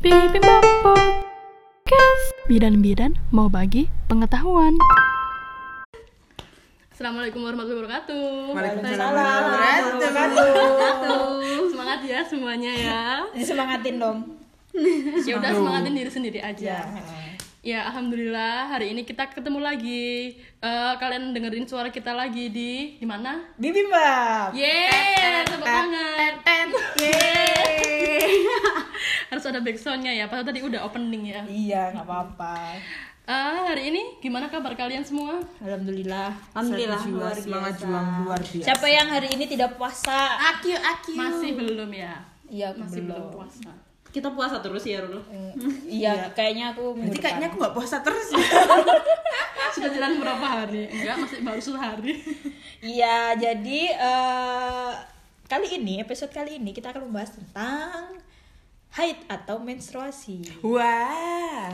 Bibimbap Podcast Bidan-bidan mau bagi pengetahuan Assalamualaikum warahmatullahi wabarakatuh Waalaikumsalam Semangat ya semuanya ya Disemangatin dong. Ya udah semangatin diri sendiri aja Ya Alhamdulillah hari ini kita ketemu lagi Eh, Kalian dengerin suara kita lagi di di mana? Bibimbap. Yeay, tepuk tangan Yeay Harus ada backsoundnya ya, padahal tadi udah opening ya Iya, nggak apa-apa. Ah, hari ini gimana kabar kalian semua? Alhamdulillah. Alhamdulillah luar Semangat juang luar biasa Siapa yang hari ini tidak puasa? Akyu, akyu. Masih belum ya? Iya, Masih belum. belum puasa. Kita puasa terus ya, Rul. Eh, Iya, kayaknya aku minggu Berarti kayaknya depan. aku gak puasa terus ya Sudah jalan berapa hari? Enggak, masih baru sehari. Iya, jadi eh, kali ini episode kali ini kita akan membahas tentang haid atau menstruasi. Wah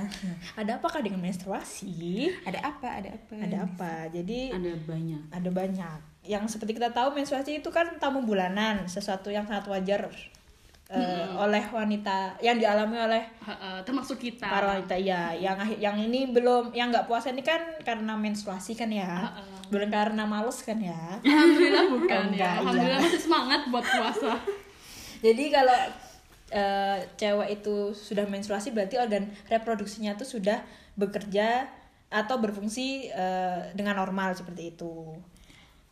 Ada apakah dengan menstruasi? Ada apa, ada apa Ada apa? Jadi Ada banyak. ada banyak yang seperti kita tahu menstruasi itu kan tamu bulanan sesuatu yang sangat wajar eh, oleh wanita yang dialami oleh Ha-ha, termasuk kita. para wanita ya yang akhir- yang ini belum yang nggak puasa ini kan karena menstruasi kan ya belum karena males kan ya Alhamdulillah bukan Oh, enggak, ya. iya. Alhamdulillah masih semangat buat puasa. jadi kalau eh, cewek itu sudah menstruasi berarti organ reproduksinya itu sudah bekerja atau berfungsi eh, dengan normal seperti itu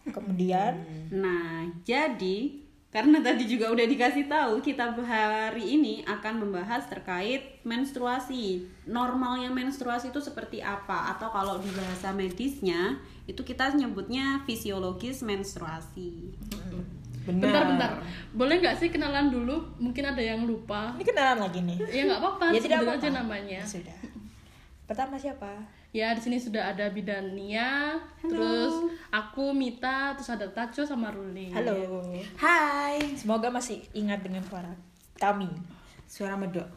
kemudian Hmm. Nah, jadi karena tadi juga udah dikasih tahu, kita hari ini akan membahas terkait menstruasi. Normalnya menstruasi itu seperti apa? Atau kalau di bahasa medisnya, itu kita nyebutnya fisiologis menstruasi. Benar Bentar, bentar. Boleh nggak sih kenalan dulu? Mungkin ada yang lupa. ini kenalan lagi nih Ya nggak apa-apa, ya tidak sebutin apa-apa aja namanya. sudah pertama siapa Ya, di sini sudah ada Bidania, terus aku Mita, terus ada Taco sama Ruli. Iya. halo Hai semoga masih ingat dengan suara kami Suara medok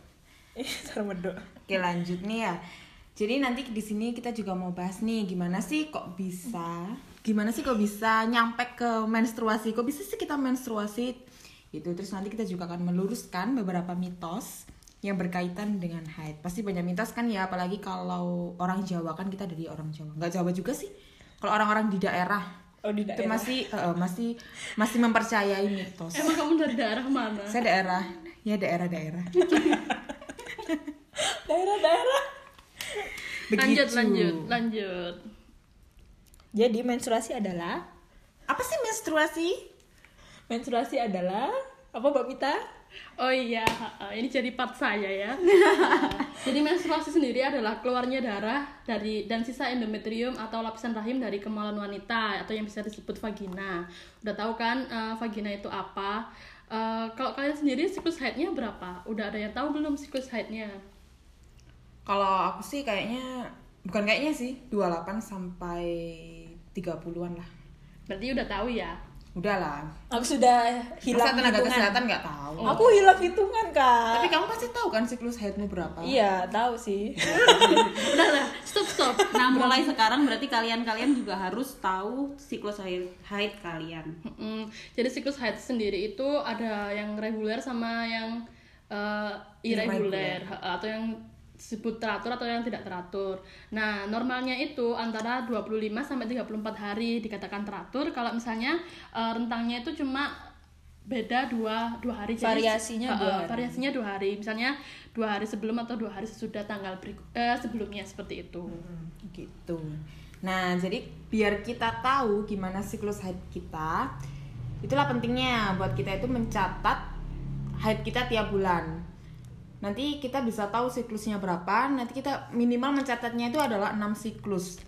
Sarmedo Oke lanjut nih ya jadi nanti di sini kita juga mau bahas nih gimana sih kok bisa gimana sih kok bisa nyampe ke menstruasi kok bisa sih kita menstruasi itu terus nanti kita juga akan meluruskan beberapa mitos yang berkaitan dengan haid pasti banyak mitos kan ya apalagi kalau orang Jawa kan kita dari orang Jawa nggak Jawa juga sih kalau orang-orang di daerah oh di itu daerah masih eh, masih masih mempercayai mitos Emang kamu dari daerah mana? saya daerah ya daerah-daerah daerah daerah Lanjut, Begitu. lanjut, lanjut. jadi menstruasi adalah apa sih menstruasi menstruasi adalah apa mbak Mita Oh iya, ha-ha. ini jadi part saya ya. jadi menstruasi sendiri adalah keluarnya darah dari dan sisa endometrium atau lapisan rahim dari kemaluan wanita atau yang bisa disebut vagina. Udah tahu kan eh, vagina itu apa? Eh, kalau kalian sendiri siklus haidnya berapa? Udah ada yang tahu belum siklus haidnya? Kalau aku sih kayaknya bukan kayaknya sih 28 sampai 30-an lah. Berarti udah tahu ya. Udah lah. aku sudah hilang Masa tenaga hitungan kesehatan nggak tahu. aku hilang hitungan kak Tapi kamu pasti tahu kan siklus haidmu berapa? iya tahu sih Udah lah, stop stop. Nah, mulai sekarang berarti kalian-kalian juga harus tahu siklus haid, haid kalian. Mm, jadi siklus haid sendiri itu ada yang reguler sama yang uh, irregular ha, atau yang disebut teratur atau yang tidak teratur. Nah, normalnya itu antara 25 sampai 34 hari dikatakan teratur kalau misalnya uh, rentangnya itu cuma beda dua dua hari Variasinya uh, dua uh, hari. variasinya dua hari misalnya dua hari sebelum atau dua hari sesudah tanggal beriku- eh, sebelumnya seperti itu Gitu. Nah, jadi biar kita tahu gimana siklus haid kita, itulah pentingnya buat kita itu mencatat haid kita tiap bulan. Nanti kita bisa tahu siklusnya berapa, nanti kita minimal mencatatnya itu adalah 6 siklus.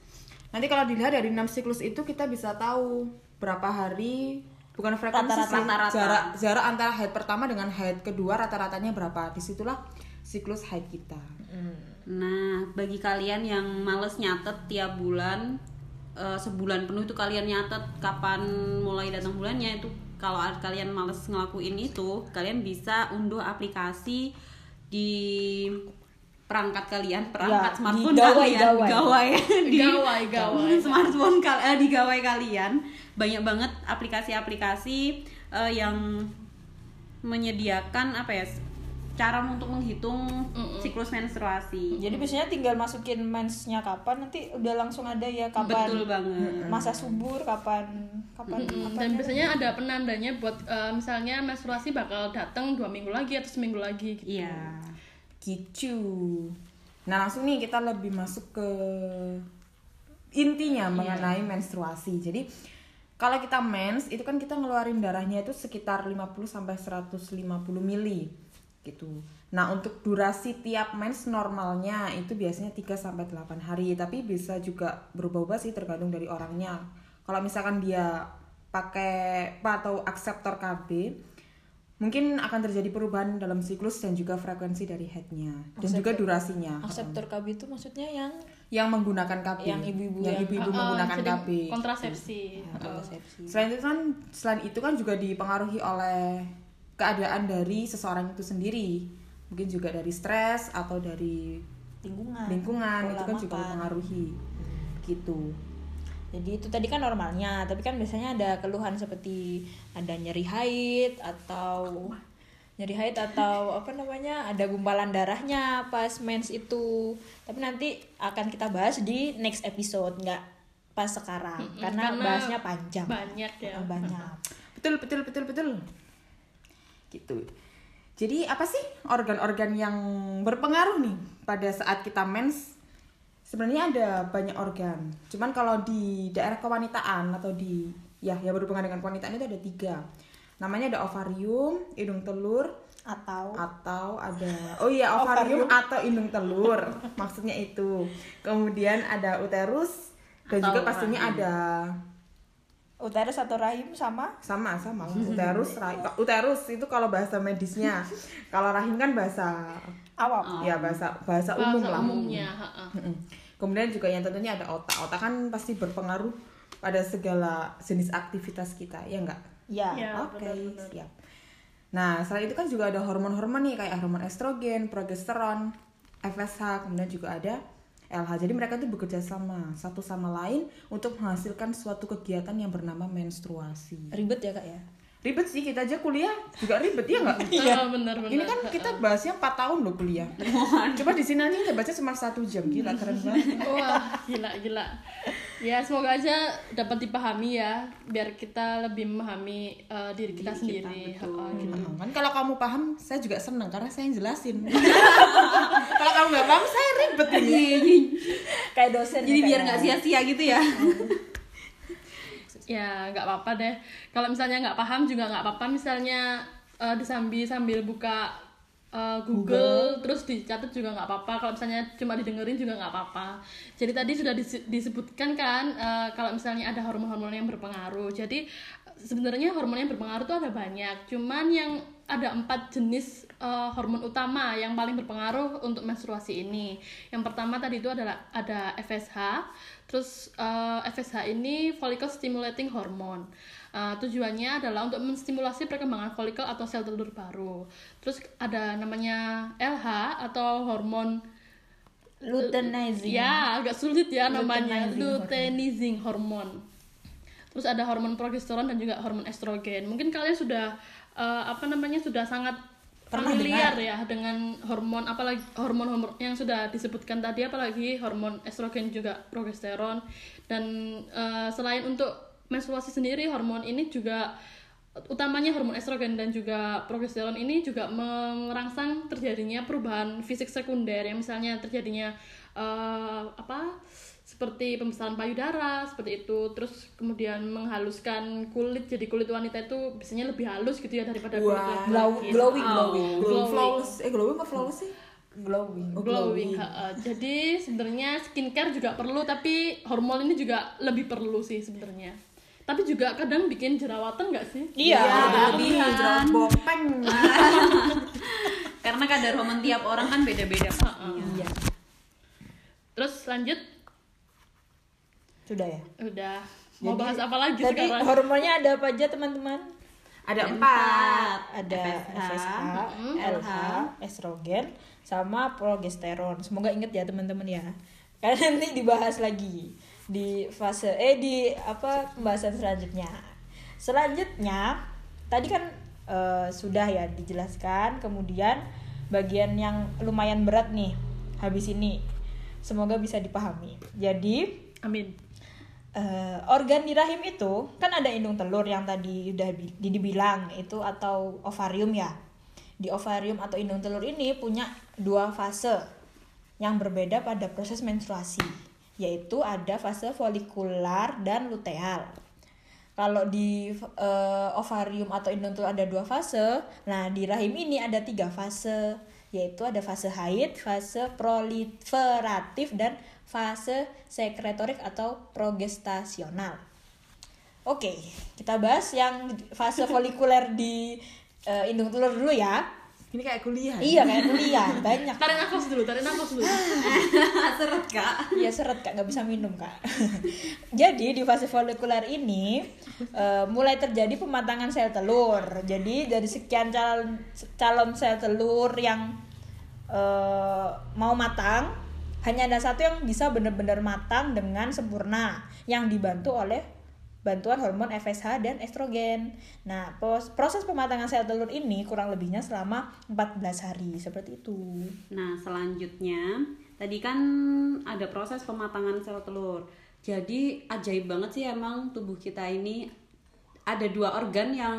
Nanti kalau dilihat dari 6 siklus itu kita bisa tahu berapa hari bukan frekuensi Rata-rata. sih, Rata-rata. jarak jarak antara haid pertama dengan haid kedua rata-ratanya berapa. Disitulah siklus haid kita. Nah, bagi kalian yang males nyatet tiap bulan eh, sebulan penuh itu kalian nyatet kapan mulai datang bulannya itu kalau a- kalian males ngelakuin itu, kalian bisa unduh aplikasi di perangkat kalian, Ya, perangkat di smartphone gawai, kalian, gawai. gawai, di Gawai, gawai. smartphone kal- eh, di gawai kalian. Banyak banget aplikasi-aplikasi eh, yang menyediakan apa ya cara untuk menghitung siklus menstruasi. Jadi biasanya tinggal masukin mensnya kapan nanti udah langsung ada ya kapan Betul banget. masa subur kapan kapan ya? Mm-mm. apa Dan biasanya ada penandanya buat eh, misalnya menstruasi bakal datang dua minggu lagi atau seminggu lagi gitu. Iya. Gitu. Nah langsung nih kita lebih masuk ke intinya mengenai menstruasi. Jadi kalau kita mens itu kan kita ngeluarin darahnya itu sekitar 50 sampai 150 mili gitu. Nah, untuk durasi tiap mens normalnya itu biasanya 3 sampai 8 hari, tapi bisa juga berubah-ubah sih tergantung dari orangnya. Kalau misalkan dia pakai apa, atau akseptor KB mungkin akan terjadi perubahan dalam siklus dan juga frekuensi dari headnya dan juga durasinya akseptor KB itu maksudnya yang yang menggunakan KB Yang ibu-ibu yang- yang Ah, ibu-ibu Eh, menggunakan Iya. jadi KB Kontrasepsi. Oh. eh, selain itu kan selain itu kan juga dipengaruhi oleh keadaan dari seseorang itu sendiri mungkin juga dari stres atau dari lingkungan lingkungan Ah, pola itu kan juga makan. mempengaruhi gitu Jadi itu tadi kan normalnya, tapi kan biasanya ada keluhan seperti ada nyeri haid atau nyeri haid atau apa namanya ada gumpalan darahnya pas mens itu. Tapi nanti akan kita bahas di next episode, nggak pas sekarang karena, karena bahasnya panjang. banyak ya. Eh, Banyak. betul betul betul betul gitu jadi apa sih organ-organ yang berpengaruh nih pada saat kita mens sebenarnya ada banyak organ cuman kalau di daerah kewanitaan atau di ya yang berhubungan dengan kewanitaan itu ada tiga namanya ada ovarium hidung telur Atau atau ada oh iya ovarium, atau indung telur maksudnya itu kemudian ada uterus dan Atau juga pastinya rahim. ada uterus atau rahim sama sama sama uterus rahim uterus itu kalau bahasa medisnya kalau rahim kan bahasa awam. ya bahasa bahasa Oh. Bahasa umum lah umumnya. ha-ha. Mm-mm. kemudian juga yang tentunya ada otak otak kan pasti berpengaruh pada segala jenis aktivitas kita ya enggak Ya. Ya, oke benar-benar. siap nah selain itu kan juga ada hormon-hormon nih kayak hormon estrogen progesteron FSH kemudian juga ada LH jadi mereka itu bekerja sama satu sama lain untuk menghasilkan suatu kegiatan yang bernama menstruasi Ribet ya, Kak ya? ribet sih kita aja kuliah juga ribet ya nggak Ah, benar-benar. ini kan kita bahasnya 4 tahun loh kuliah coba di sini aja kita baca cuma satu jam gila keren banget Wah, gila gila. Ya, semoga aja dapat dipahami ya biar kita lebih memahami eh, diri kita sendiri. Ha-ha, gitu. Nah, kan kalau kamu paham saya juga seneng karena saya yang jelasin kalau kamu nggak paham saya ribet ini Kayak dosen. Jadi ya, biar Kak, nggak ya. sia-sia gitu ya. Ya, nggak apa-apa deh. Kalau misalnya nggak paham juga nggak apa-apa misalnya eh, disambi sambil buka eh, Google, terus dicatat juga nggak apa-apa. Kalau misalnya cuma didengerin juga nggak apa-apa. Jadi tadi sudah dise- disebutkan kan eh, kalau misalnya ada hormon-hormon yang berpengaruh. Jadi eh, sebenarnya hormon yang berpengaruh itu ada banyak. Cuman yang ada empat jenis eh, hormon utama yang paling berpengaruh untuk menstruasi ini. Yang pertama tadi itu adalah ada FSH, terus eh, FSH ini follicle stimulating hormone. Eh, tujuannya adalah untuk menstimulasi perkembangan folikel atau sel telur baru. Terus ada namanya LH atau hormon luteinizing. Ya, agak sulit ya namanya Luteinizing hormone. luteinizing hormone. Terus ada hormon progesteron dan juga hormon estrogen. Mungkin kalian sudah eh, apa namanya sudah sangat Pernah familiar ya dengan hormon apalagi hormon hormon yang sudah disebutkan tadi apalagi hormon estrogen juga progesteron dan eh, selain untuk menstruasi sendiri hormon ini juga utamanya hormon estrogen dan juga progesteron ini juga merangsang terjadinya perubahan fisik sekunder yang misalnya terjadinya eh, apa seperti pembesaran payudara seperti itu terus kemudian menghaluskan kulit jadi kulit wanita itu biasanya lebih halus gitu ya daripada kulit Wah. oh, laki-laki. Glow, glowing, glowing, Glow flawless eh glowing apa flawless sih glowing. Oh, glowing. ha-ha. Jadi sebenarnya skincare juga perlu tapi hormon ini juga lebih perlu sih sebenarnya. Tapi juga kadang bikin jerawatan nggak sih? Iya. lebih jerawat bopeng Karena kadar hormon tiap orang kan beda-beda. Iya. Terus lanjut Sudah ya. udah mau bahas apa lagi Tadi sekarang? hormonnya ada apa aja teman-teman? ada empat Ada FSH, LH, estrogen, sama progesteron. Semoga inget ya teman-teman ya. Karena nanti dibahas lagi di fase eh di apa pembahasan selanjutnya. Selanjutnya tadi kan eh, sudah ya dijelaskan. Kemudian bagian yang lumayan berat nih habis ini. Semoga bisa dipahami. Jadi Amin. eh, organ di rahim itu kan ada indung telur yang tadi udah bi- di- dibilang itu atau ovarium ya. Di ovarium atau indung telur ini punya dua fase yang berbeda pada proses menstruasi, yaitu ada fase folikular dan luteal. Kalau di eh, ovarium atau indung telur ada dua fase, nah di rahim ini ada tiga fase, yaitu ada fase haid, fase proliferatif dan fase sekretorik atau progestasional. Oke, kita bahas yang fase folikuler di eh, indung telur dulu ya. Ini kayak kuliah. ya? Iya kayak kuliah banyak. Tarik nafas dulu, tarik nafas dulu. Seret kak. Iya seret kak, nggak bisa minum kak. Jadi di fase folikular ini eh, mulai terjadi pematangan sel telur. Jadi dari sekian calon calon sel telur yang eh, mau matang, hanya ada satu yang bisa benar-benar matang dengan sempurna, yang dibantu oleh bantuan hormon FSH dan estrogen. Nah, pos- proses pematangan sel telur ini kurang lebihnya selama 14 hari seperti itu. Nah, selanjutnya tadi kan ada proses pematangan sel telur. Jadi ajaib banget sih emang tubuh kita ini ada dua organ yang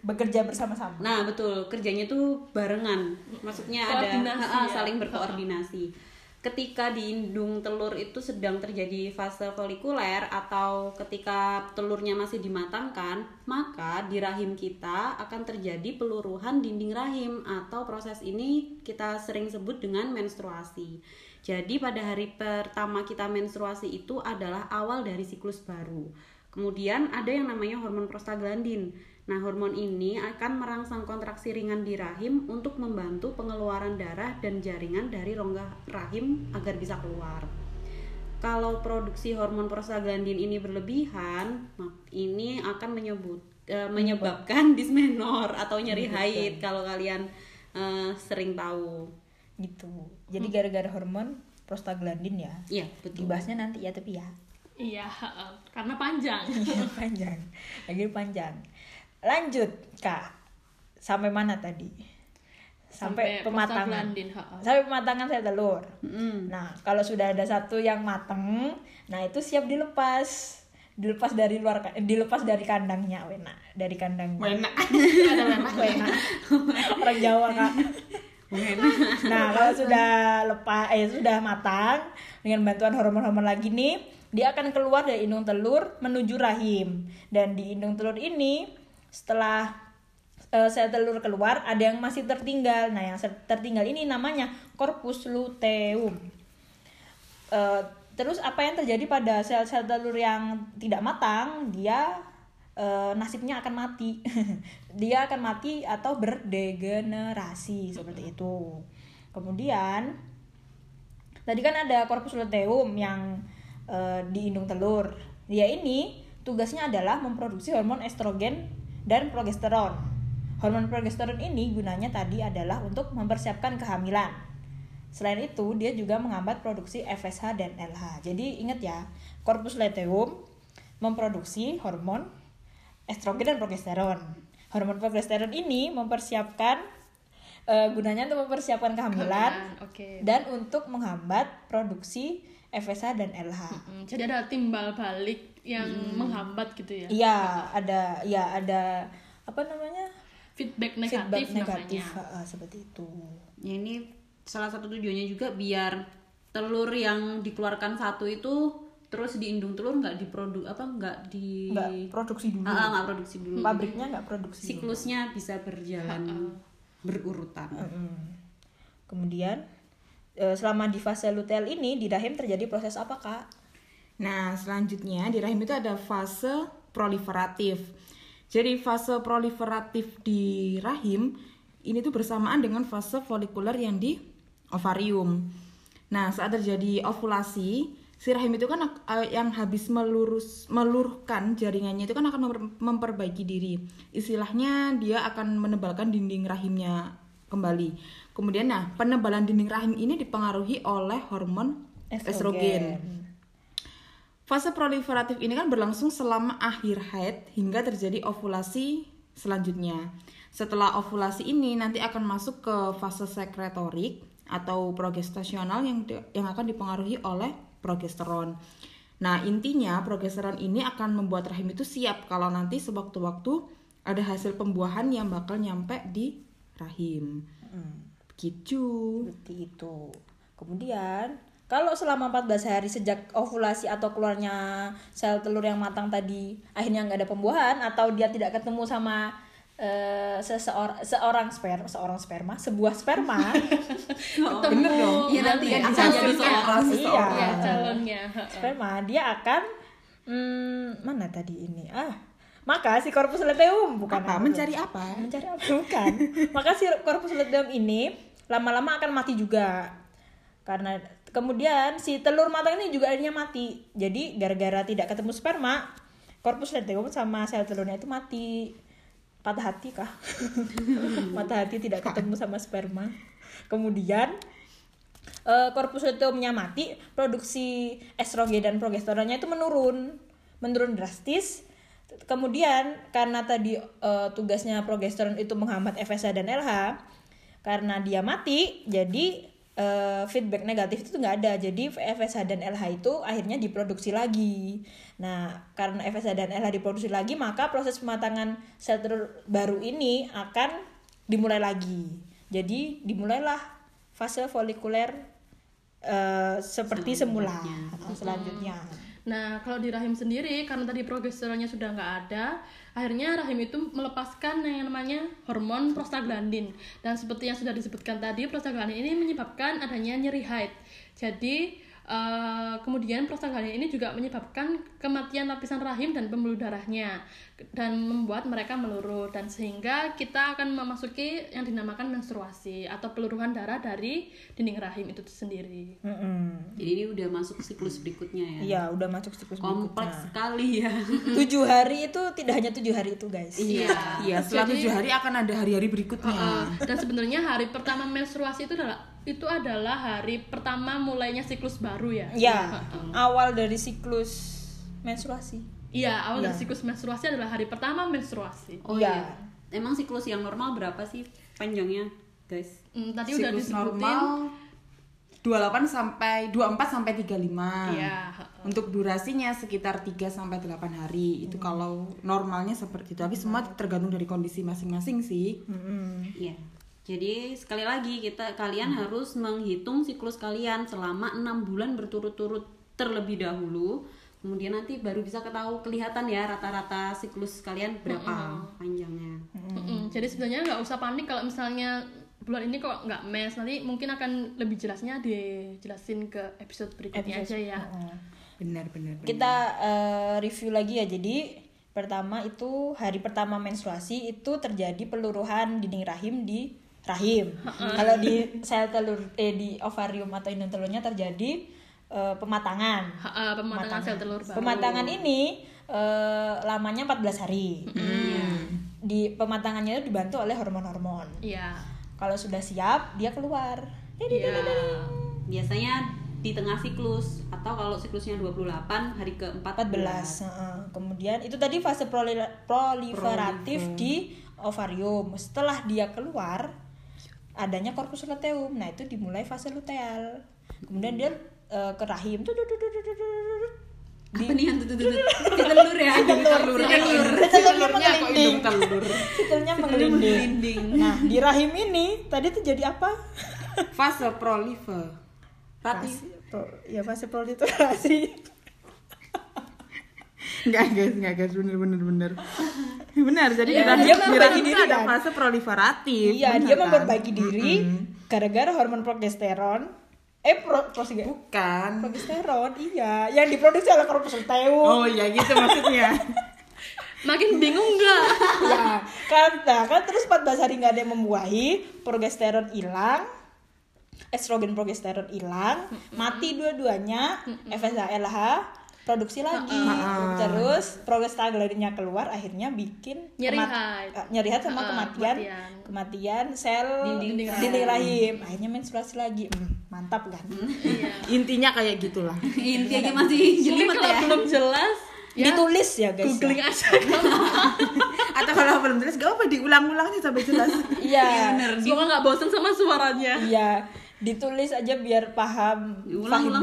Bekerja bersama-sama. nah betul kerjanya tuh barengan. Maksudnya ada Koordinasi ha-ha, ya. saling berkoordinasi. Ketika di indung telur itu sedang terjadi fase folikuler atau ketika telurnya masih dimatangkan, maka di rahim kita akan terjadi peluruhan dinding rahim atau proses ini kita sering sebut dengan menstruasi. Jadi pada hari pertama kita menstruasi itu adalah awal dari siklus baru. Kemudian ada yang namanya hormon prostaglandin. Nah, hormon ini akan merangsang kontraksi ringan di rahim untuk membantu pengeluaran darah dan jaringan dari rongga rahim agar bisa keluar. Kalau produksi hormon prostaglandin ini berlebihan, mak- ini akan menyebut eh, menyebabkan dismenor atau nyeri haid kalau kalian eh, sering tahu. gitu jadi gara-gara hormon prostaglandin ya Iya, betul. dibahasnya nanti ya tapi ya Iya, heeh. karena panjang. Iya, panjang lagi panjang lanjut kak sampai mana tadi sampai, pematangan prostaglandin, heeh. sampai pematangan sel telur Mm. nah kalau sudah ada satu yang mateng nah itu siap dilepas dilepas dari luar ka- dilepas dari kandangnya wena dari kandangnya Wena. ada wena wena orang Jawa kak Nah, kalau sudah lepas eh sudah matang dengan bantuan hormon-hormon lagi nih, dia akan keluar dari indung telur menuju rahim. Dan di indung telur ini setelah eh, sel telur keluar ada yang masih tertinggal. Nah, yang ser- tertinggal ini namanya corpus luteum. Eh, terus apa yang terjadi pada sel-sel telur yang tidak matang? Dia eh, nasibnya akan mati. dia akan mati atau berdegenerasi seperti itu. Kemudian tadi kan ada corpus luteum yang eh, di indung telur. Dia ini tugasnya adalah memproduksi hormon estrogen dan progesteron. Hormon progesteron ini gunanya tadi adalah untuk mempersiapkan kehamilan. Selain itu, dia juga menghambat produksi FSH dan LH. Jadi ingat ya, korpus luteum memproduksi hormon estrogen dan progesteron. Hormon progesteron ini mempersiapkan eh, gunanya untuk mempersiapkan kehamilan Kehamilan, oke. dan untuk menghambat produksi FSH dan LH. Mm, Jadi ada timbal balik yang menghambat gitu ya. Iya, ada ya ada apa namanya? Feedback negatif, negatif namanya. ha, seperti itu. Ya ini salah satu tujuannya juga biar telur yang dikeluarkan satu itu terus di indung telur nggak diproduk apa nggak di Enggak produksi dulu. Ah, ah, nggak produksi dulu. Pabriknya nggak produksi. dulu. Siklusnya bisa berjalan berurutan. Mm. Kemudian eh, selama di fase luteal ini di rahim terjadi proses apa kak? Nah, selanjutnya di rahim itu ada fase proliferatif. Jadi fase proliferatif di rahim ini tuh bersamaan dengan fase folikuler yang di ovarium. Nah, saat terjadi ovulasi, si rahim itu kan ak- eh, yang habis melurus meluruhkan jaringannya itu kan akan memper- memperbaiki diri. Istilahnya dia akan menebalkan dinding rahimnya kembali. Kemudian nah, penebalan dinding rahim ini dipengaruhi oleh hormon estrogen. Fase proliferatif ini kan berlangsung selama akhir haid hingga terjadi ovulasi selanjutnya. Setelah ovulasi ini nanti akan masuk ke fase sekretorik atau progestasional yang di- yang akan dipengaruhi oleh progesteron. Nah, intinya progesteron ini akan membuat rahim itu siap kalau nanti sewaktu-waktu ada hasil pembuahan yang bakal nyampe di rahim. Gitu. Begitu. Seperti itu. Kemudian, kalau selama 14 hari sejak ovulasi atau keluarnya sel telur yang matang tadi akhirnya nggak ada pembuahan atau dia tidak ketemu sama eh, seseor- seorang sperma, seorang sperma, sebuah sperma. Ketemu dong. Iya, nanti Iya, akan nanti jadi akan seorang. jadi seorang. Iya, calonnya. heeh. sperma, dia akan hmm, mana tadi ini? Ah, maka si corpus luteum bukan Apa mencari apa? mencari apa bukan maka si corpus luteum ini lama-lama akan mati juga karena kemudian si telur matang ini juga akhirnya mati jadi gara-gara tidak ketemu sperma corpus luteum sama sel telurnya itu mati patah hati kah patah hati tidak ketemu sama sperma kemudian eh, korpus luteumnya mati, produksi estrogen dan progesteronnya itu menurun, menurun drastis. Kemudian karena tadi eh, tugasnya progesteron itu menghambat FSH dan LH, karena dia mati, jadi eh, feedback negatif itu nggak ada. Jadi FSH dan LH itu akhirnya diproduksi lagi. Nah, karena FSH dan LH diproduksi lagi, maka proses pematangan sel telur baru ini akan dimulai lagi. Jadi dimulailah fase folikuler eh, seperti semula atau selanjutnya. Nah, kalau di rahim sendiri karena tadi progesteronnya sudah nggak ada, akhirnya rahim itu melepaskan yang namanya hormon prostaglandin. Dan seperti yang sudah disebutkan tadi, prostaglandin ini menyebabkan adanya nyeri haid. Jadi eh, kemudian prostaglandin ini juga menyebabkan kematian lapisan rahim dan pembuluh darahnya dan membuat mereka meluru dan sehingga kita akan memasuki yang dinamakan menstruasi atau peluruhan darah dari dinding rahim itu sendiri. Mm-mm. Jadi ini udah masuk siklus berikutnya Hmm. ya. Iya, udah masuk siklus Kompleks berikutnya. sekali ya. Tujuh hari itu tidak hanya tujuh hari itu guys. Iya. Iya, setelah Jadi- tujuh hari akan ada hari-hari berikutnya. Uh, dan sebenarnya hari pertama menstruasi itu adalah itu adalah hari pertama mulainya siklus baru ya. Ya, awal dari siklus menstruasi. Iya, awal dari Iya. siklus menstruasi adalah hari pertama menstruasi. Oh Iya. iya. Emang siklus yang normal berapa sih panjangnya, guys? Hmm, tadi udah Siklus disebutin. normal 28 sampai 24 sampai 35. Iya. Untuk durasinya sekitar 3 sampai 8 hari. Itu kalau normalnya seperti itu. Tapi semua tergantung dari kondisi masing-masing sih. Mm-mm. Iya. Jadi sekali lagi kita kalian harus menghitung siklus kalian selama enam bulan berturut-turut terlebih dahulu. Kemudian nanti baru bisa ketahui kelihatan ya rata-rata siklus kalian berapa panjangnya. Mm-mm. Hmm, Jadi sebenarnya nggak usah panik kalau misalnya bulan ini kok nggak mens nanti mungkin akan lebih jelasnya dijelasin ke episode berikutnya aja ya. Benar-benar. Kita eh, review lagi ya. Jadi pertama itu hari pertama menstruasi itu terjadi peluruhan dinding rahim di rahim. Kalau di sel telur eh di ovarium atau indung telurnya terjadi eh, pematangan. Ha, uh, pematangan sel telur baru. Pematangan ini eh, lamanya 14 hari. Di pematangannya itu dibantu oleh hormon-hormon. Iya. Kalau sudah siap, dia keluar. Iya. Biasanya di tengah siklus atau kalau siklusnya 28 hari ke 14. 14. heeh. Kemudian itu tadi fase proli- proliferatif di ovarium. Setelah dia keluar adanya korpus luteum. Nah, itu dimulai fase luteal. Kemudian dia eh, ke rahim. Tut, tut, tut, tut, tut, tut, tut, tut. Apa nih yang tuh telur ya? telur. Si telur. Si telurnya Telurnya kok mengelinding. hidung telur. Si telurnya mengelinding. Nah, di rahim ini tadi terjadi apa? Fase prolifer. Fase pro- ya fase proliferasi. Enggak guys, enggak guys, bener bener bener Benar, jadi di rahim, dia di rahim memperbaiki itu diri, ada kan? fase proliferatif Iya, benar dia kan? memperbaiki diri gara-gara hormon progesteron. Eh, pro, prosige- Bukan progesteron, iya, yang diproduksi oleh korpus luteum. Oh iya gitu maksudnya Makin bingung nggak? ya, kan, nah, kan terus 14 hari nggak ada yang membuahi, progesteron hilang, estrogen progesteron hilang, mati dua-duanya, FSH LH produksi lagi, gitu. terus progestaglandinnya keluar, akhirnya bikin Nyeri kemat- haid. eh, nyeri haid sama Ha-ha, kematian, kematian. kan? kematian sel Dinding rahim. dinding, rahim, akhirnya menstruasi lagi, Hmm, mantap kan? Iya. Intinya kayak gitulah Inti aja Iya, masih Mungkin jelimet kalau ya. belum jelas, ya Ditulis ya guys. ya. googling aja. atau kalau belum jelas gak apa diulang-ulangnya sampai jelas ya, iya Semoga nggak bosen sama suaranya. iya ditulis aja biar paham Ulang-ulang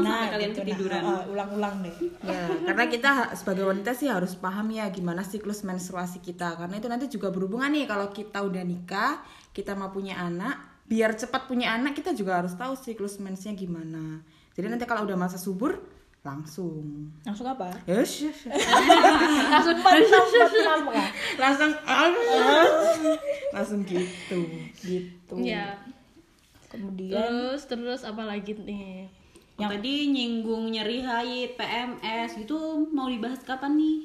fahimna sampai kalian gitu. Nah, ketiduran. uh, ulang-ulang deh ya karena kita ha- sebagai wanita sih harus paham ya gimana siklus menstruasi kita karena itu nanti juga berhubungan nih kalau kita udah nikah kita mau punya anak biar cepat punya anak kita juga harus tahu siklus mensnya gimana jadi nanti kalau udah masa subur langsung langsung apa yes, yes, yes. langsung penam penam kah? langsung "Ah." langsung gitu gitu Iya. kemudian Terus terus apa lagi nih? Tadi nyinggung nyeri haid, PMS gitu mau dibahas kapan nih?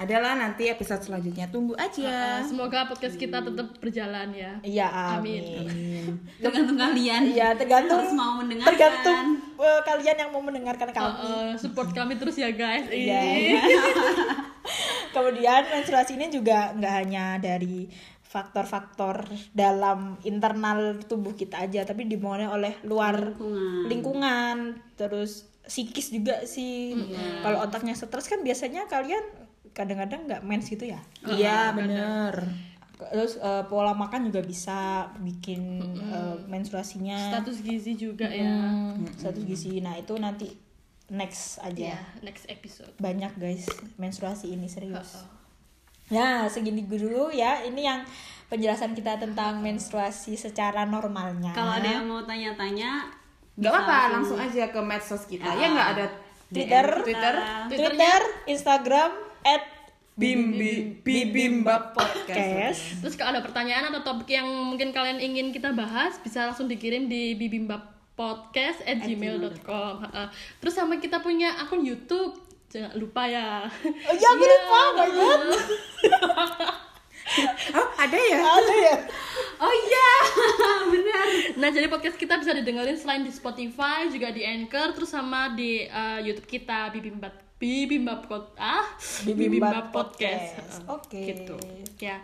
adalah nanti episode selanjutnya tunggu aja Semoga podcast kita tetap berjalan ya. Ah. iya Amin. amin. Tergantung kalian. Iya, tergantung Harus mau mendengarkan. Tergantung eh, kalian yang mau mendengarkan Uh, kami. uh, support kami terus ya guys. Iya. Kemudian menstruasi ini juga nggak hanya dari faktor-faktor dalam internal tubuh kita aja, tapi dimengaruhi oleh luar Lingkungan. lingkungan, terus psikis juga sih. Kalau otaknya stres kan biasanya kalian kadang-kadang nggak mens gitu ya. iya bener Terus eh, pola makan juga bisa bikin eh, menstruasinya. Status gizi juga ya. Hmm, status gizi. Nah, itu nanti next Ya, aja. next episode. Eh, Banyak guys menstruasi ini serius. Nah, segini dulu ya. Ini yang penjelasan kita tentang menstruasi secara normalnya. Kalau ada yang mau tanya-tanya, nggak apa-apa langsung aja ke medsos kita ya nggak ada Twitter, Twitter eh, Ah. Twitter, Instagram at bim bim bimbab podcast podcast. Terus kalau ada pertanyaan atau topik yang mungkin kalian ingin kita bahas, bisa langsung dikirim di bibimbapodcast@gmail.com. Heeh. Eh, Terus sama kita punya akun YouTube. Jangan lupa ya. Oh iya, aku lupa banget. oh ada ya Ada ya? Oh iya, benar. Nah, jadi podcast kita bisa didengerin selain di Spotify, juga di Anchor, terus sama di eh, YouTube kita Bibimbat Bibimbap Pod- ah, Bibimbap Podcast. Heeh. Oke. Gitu. Ya.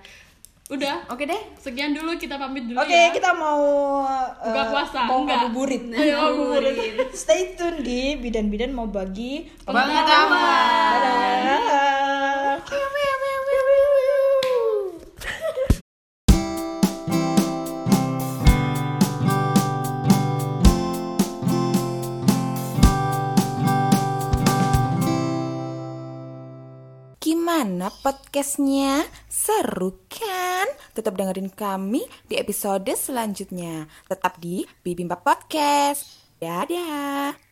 Udah. oke deh Sekian dulu kita pamit dulu Oke, ya. kita mau eh, Buka puasa, mau enggak. ngabuburit. Ayo, ngabuburit. Stay tune di bidan-bidan mau bagi Pengetahuan. Dadah. Gimana podcastnya? Seru kan? Tetap dengerin kami di episode selanjutnya. Tetap di Bibimbap Podcast. Dadah.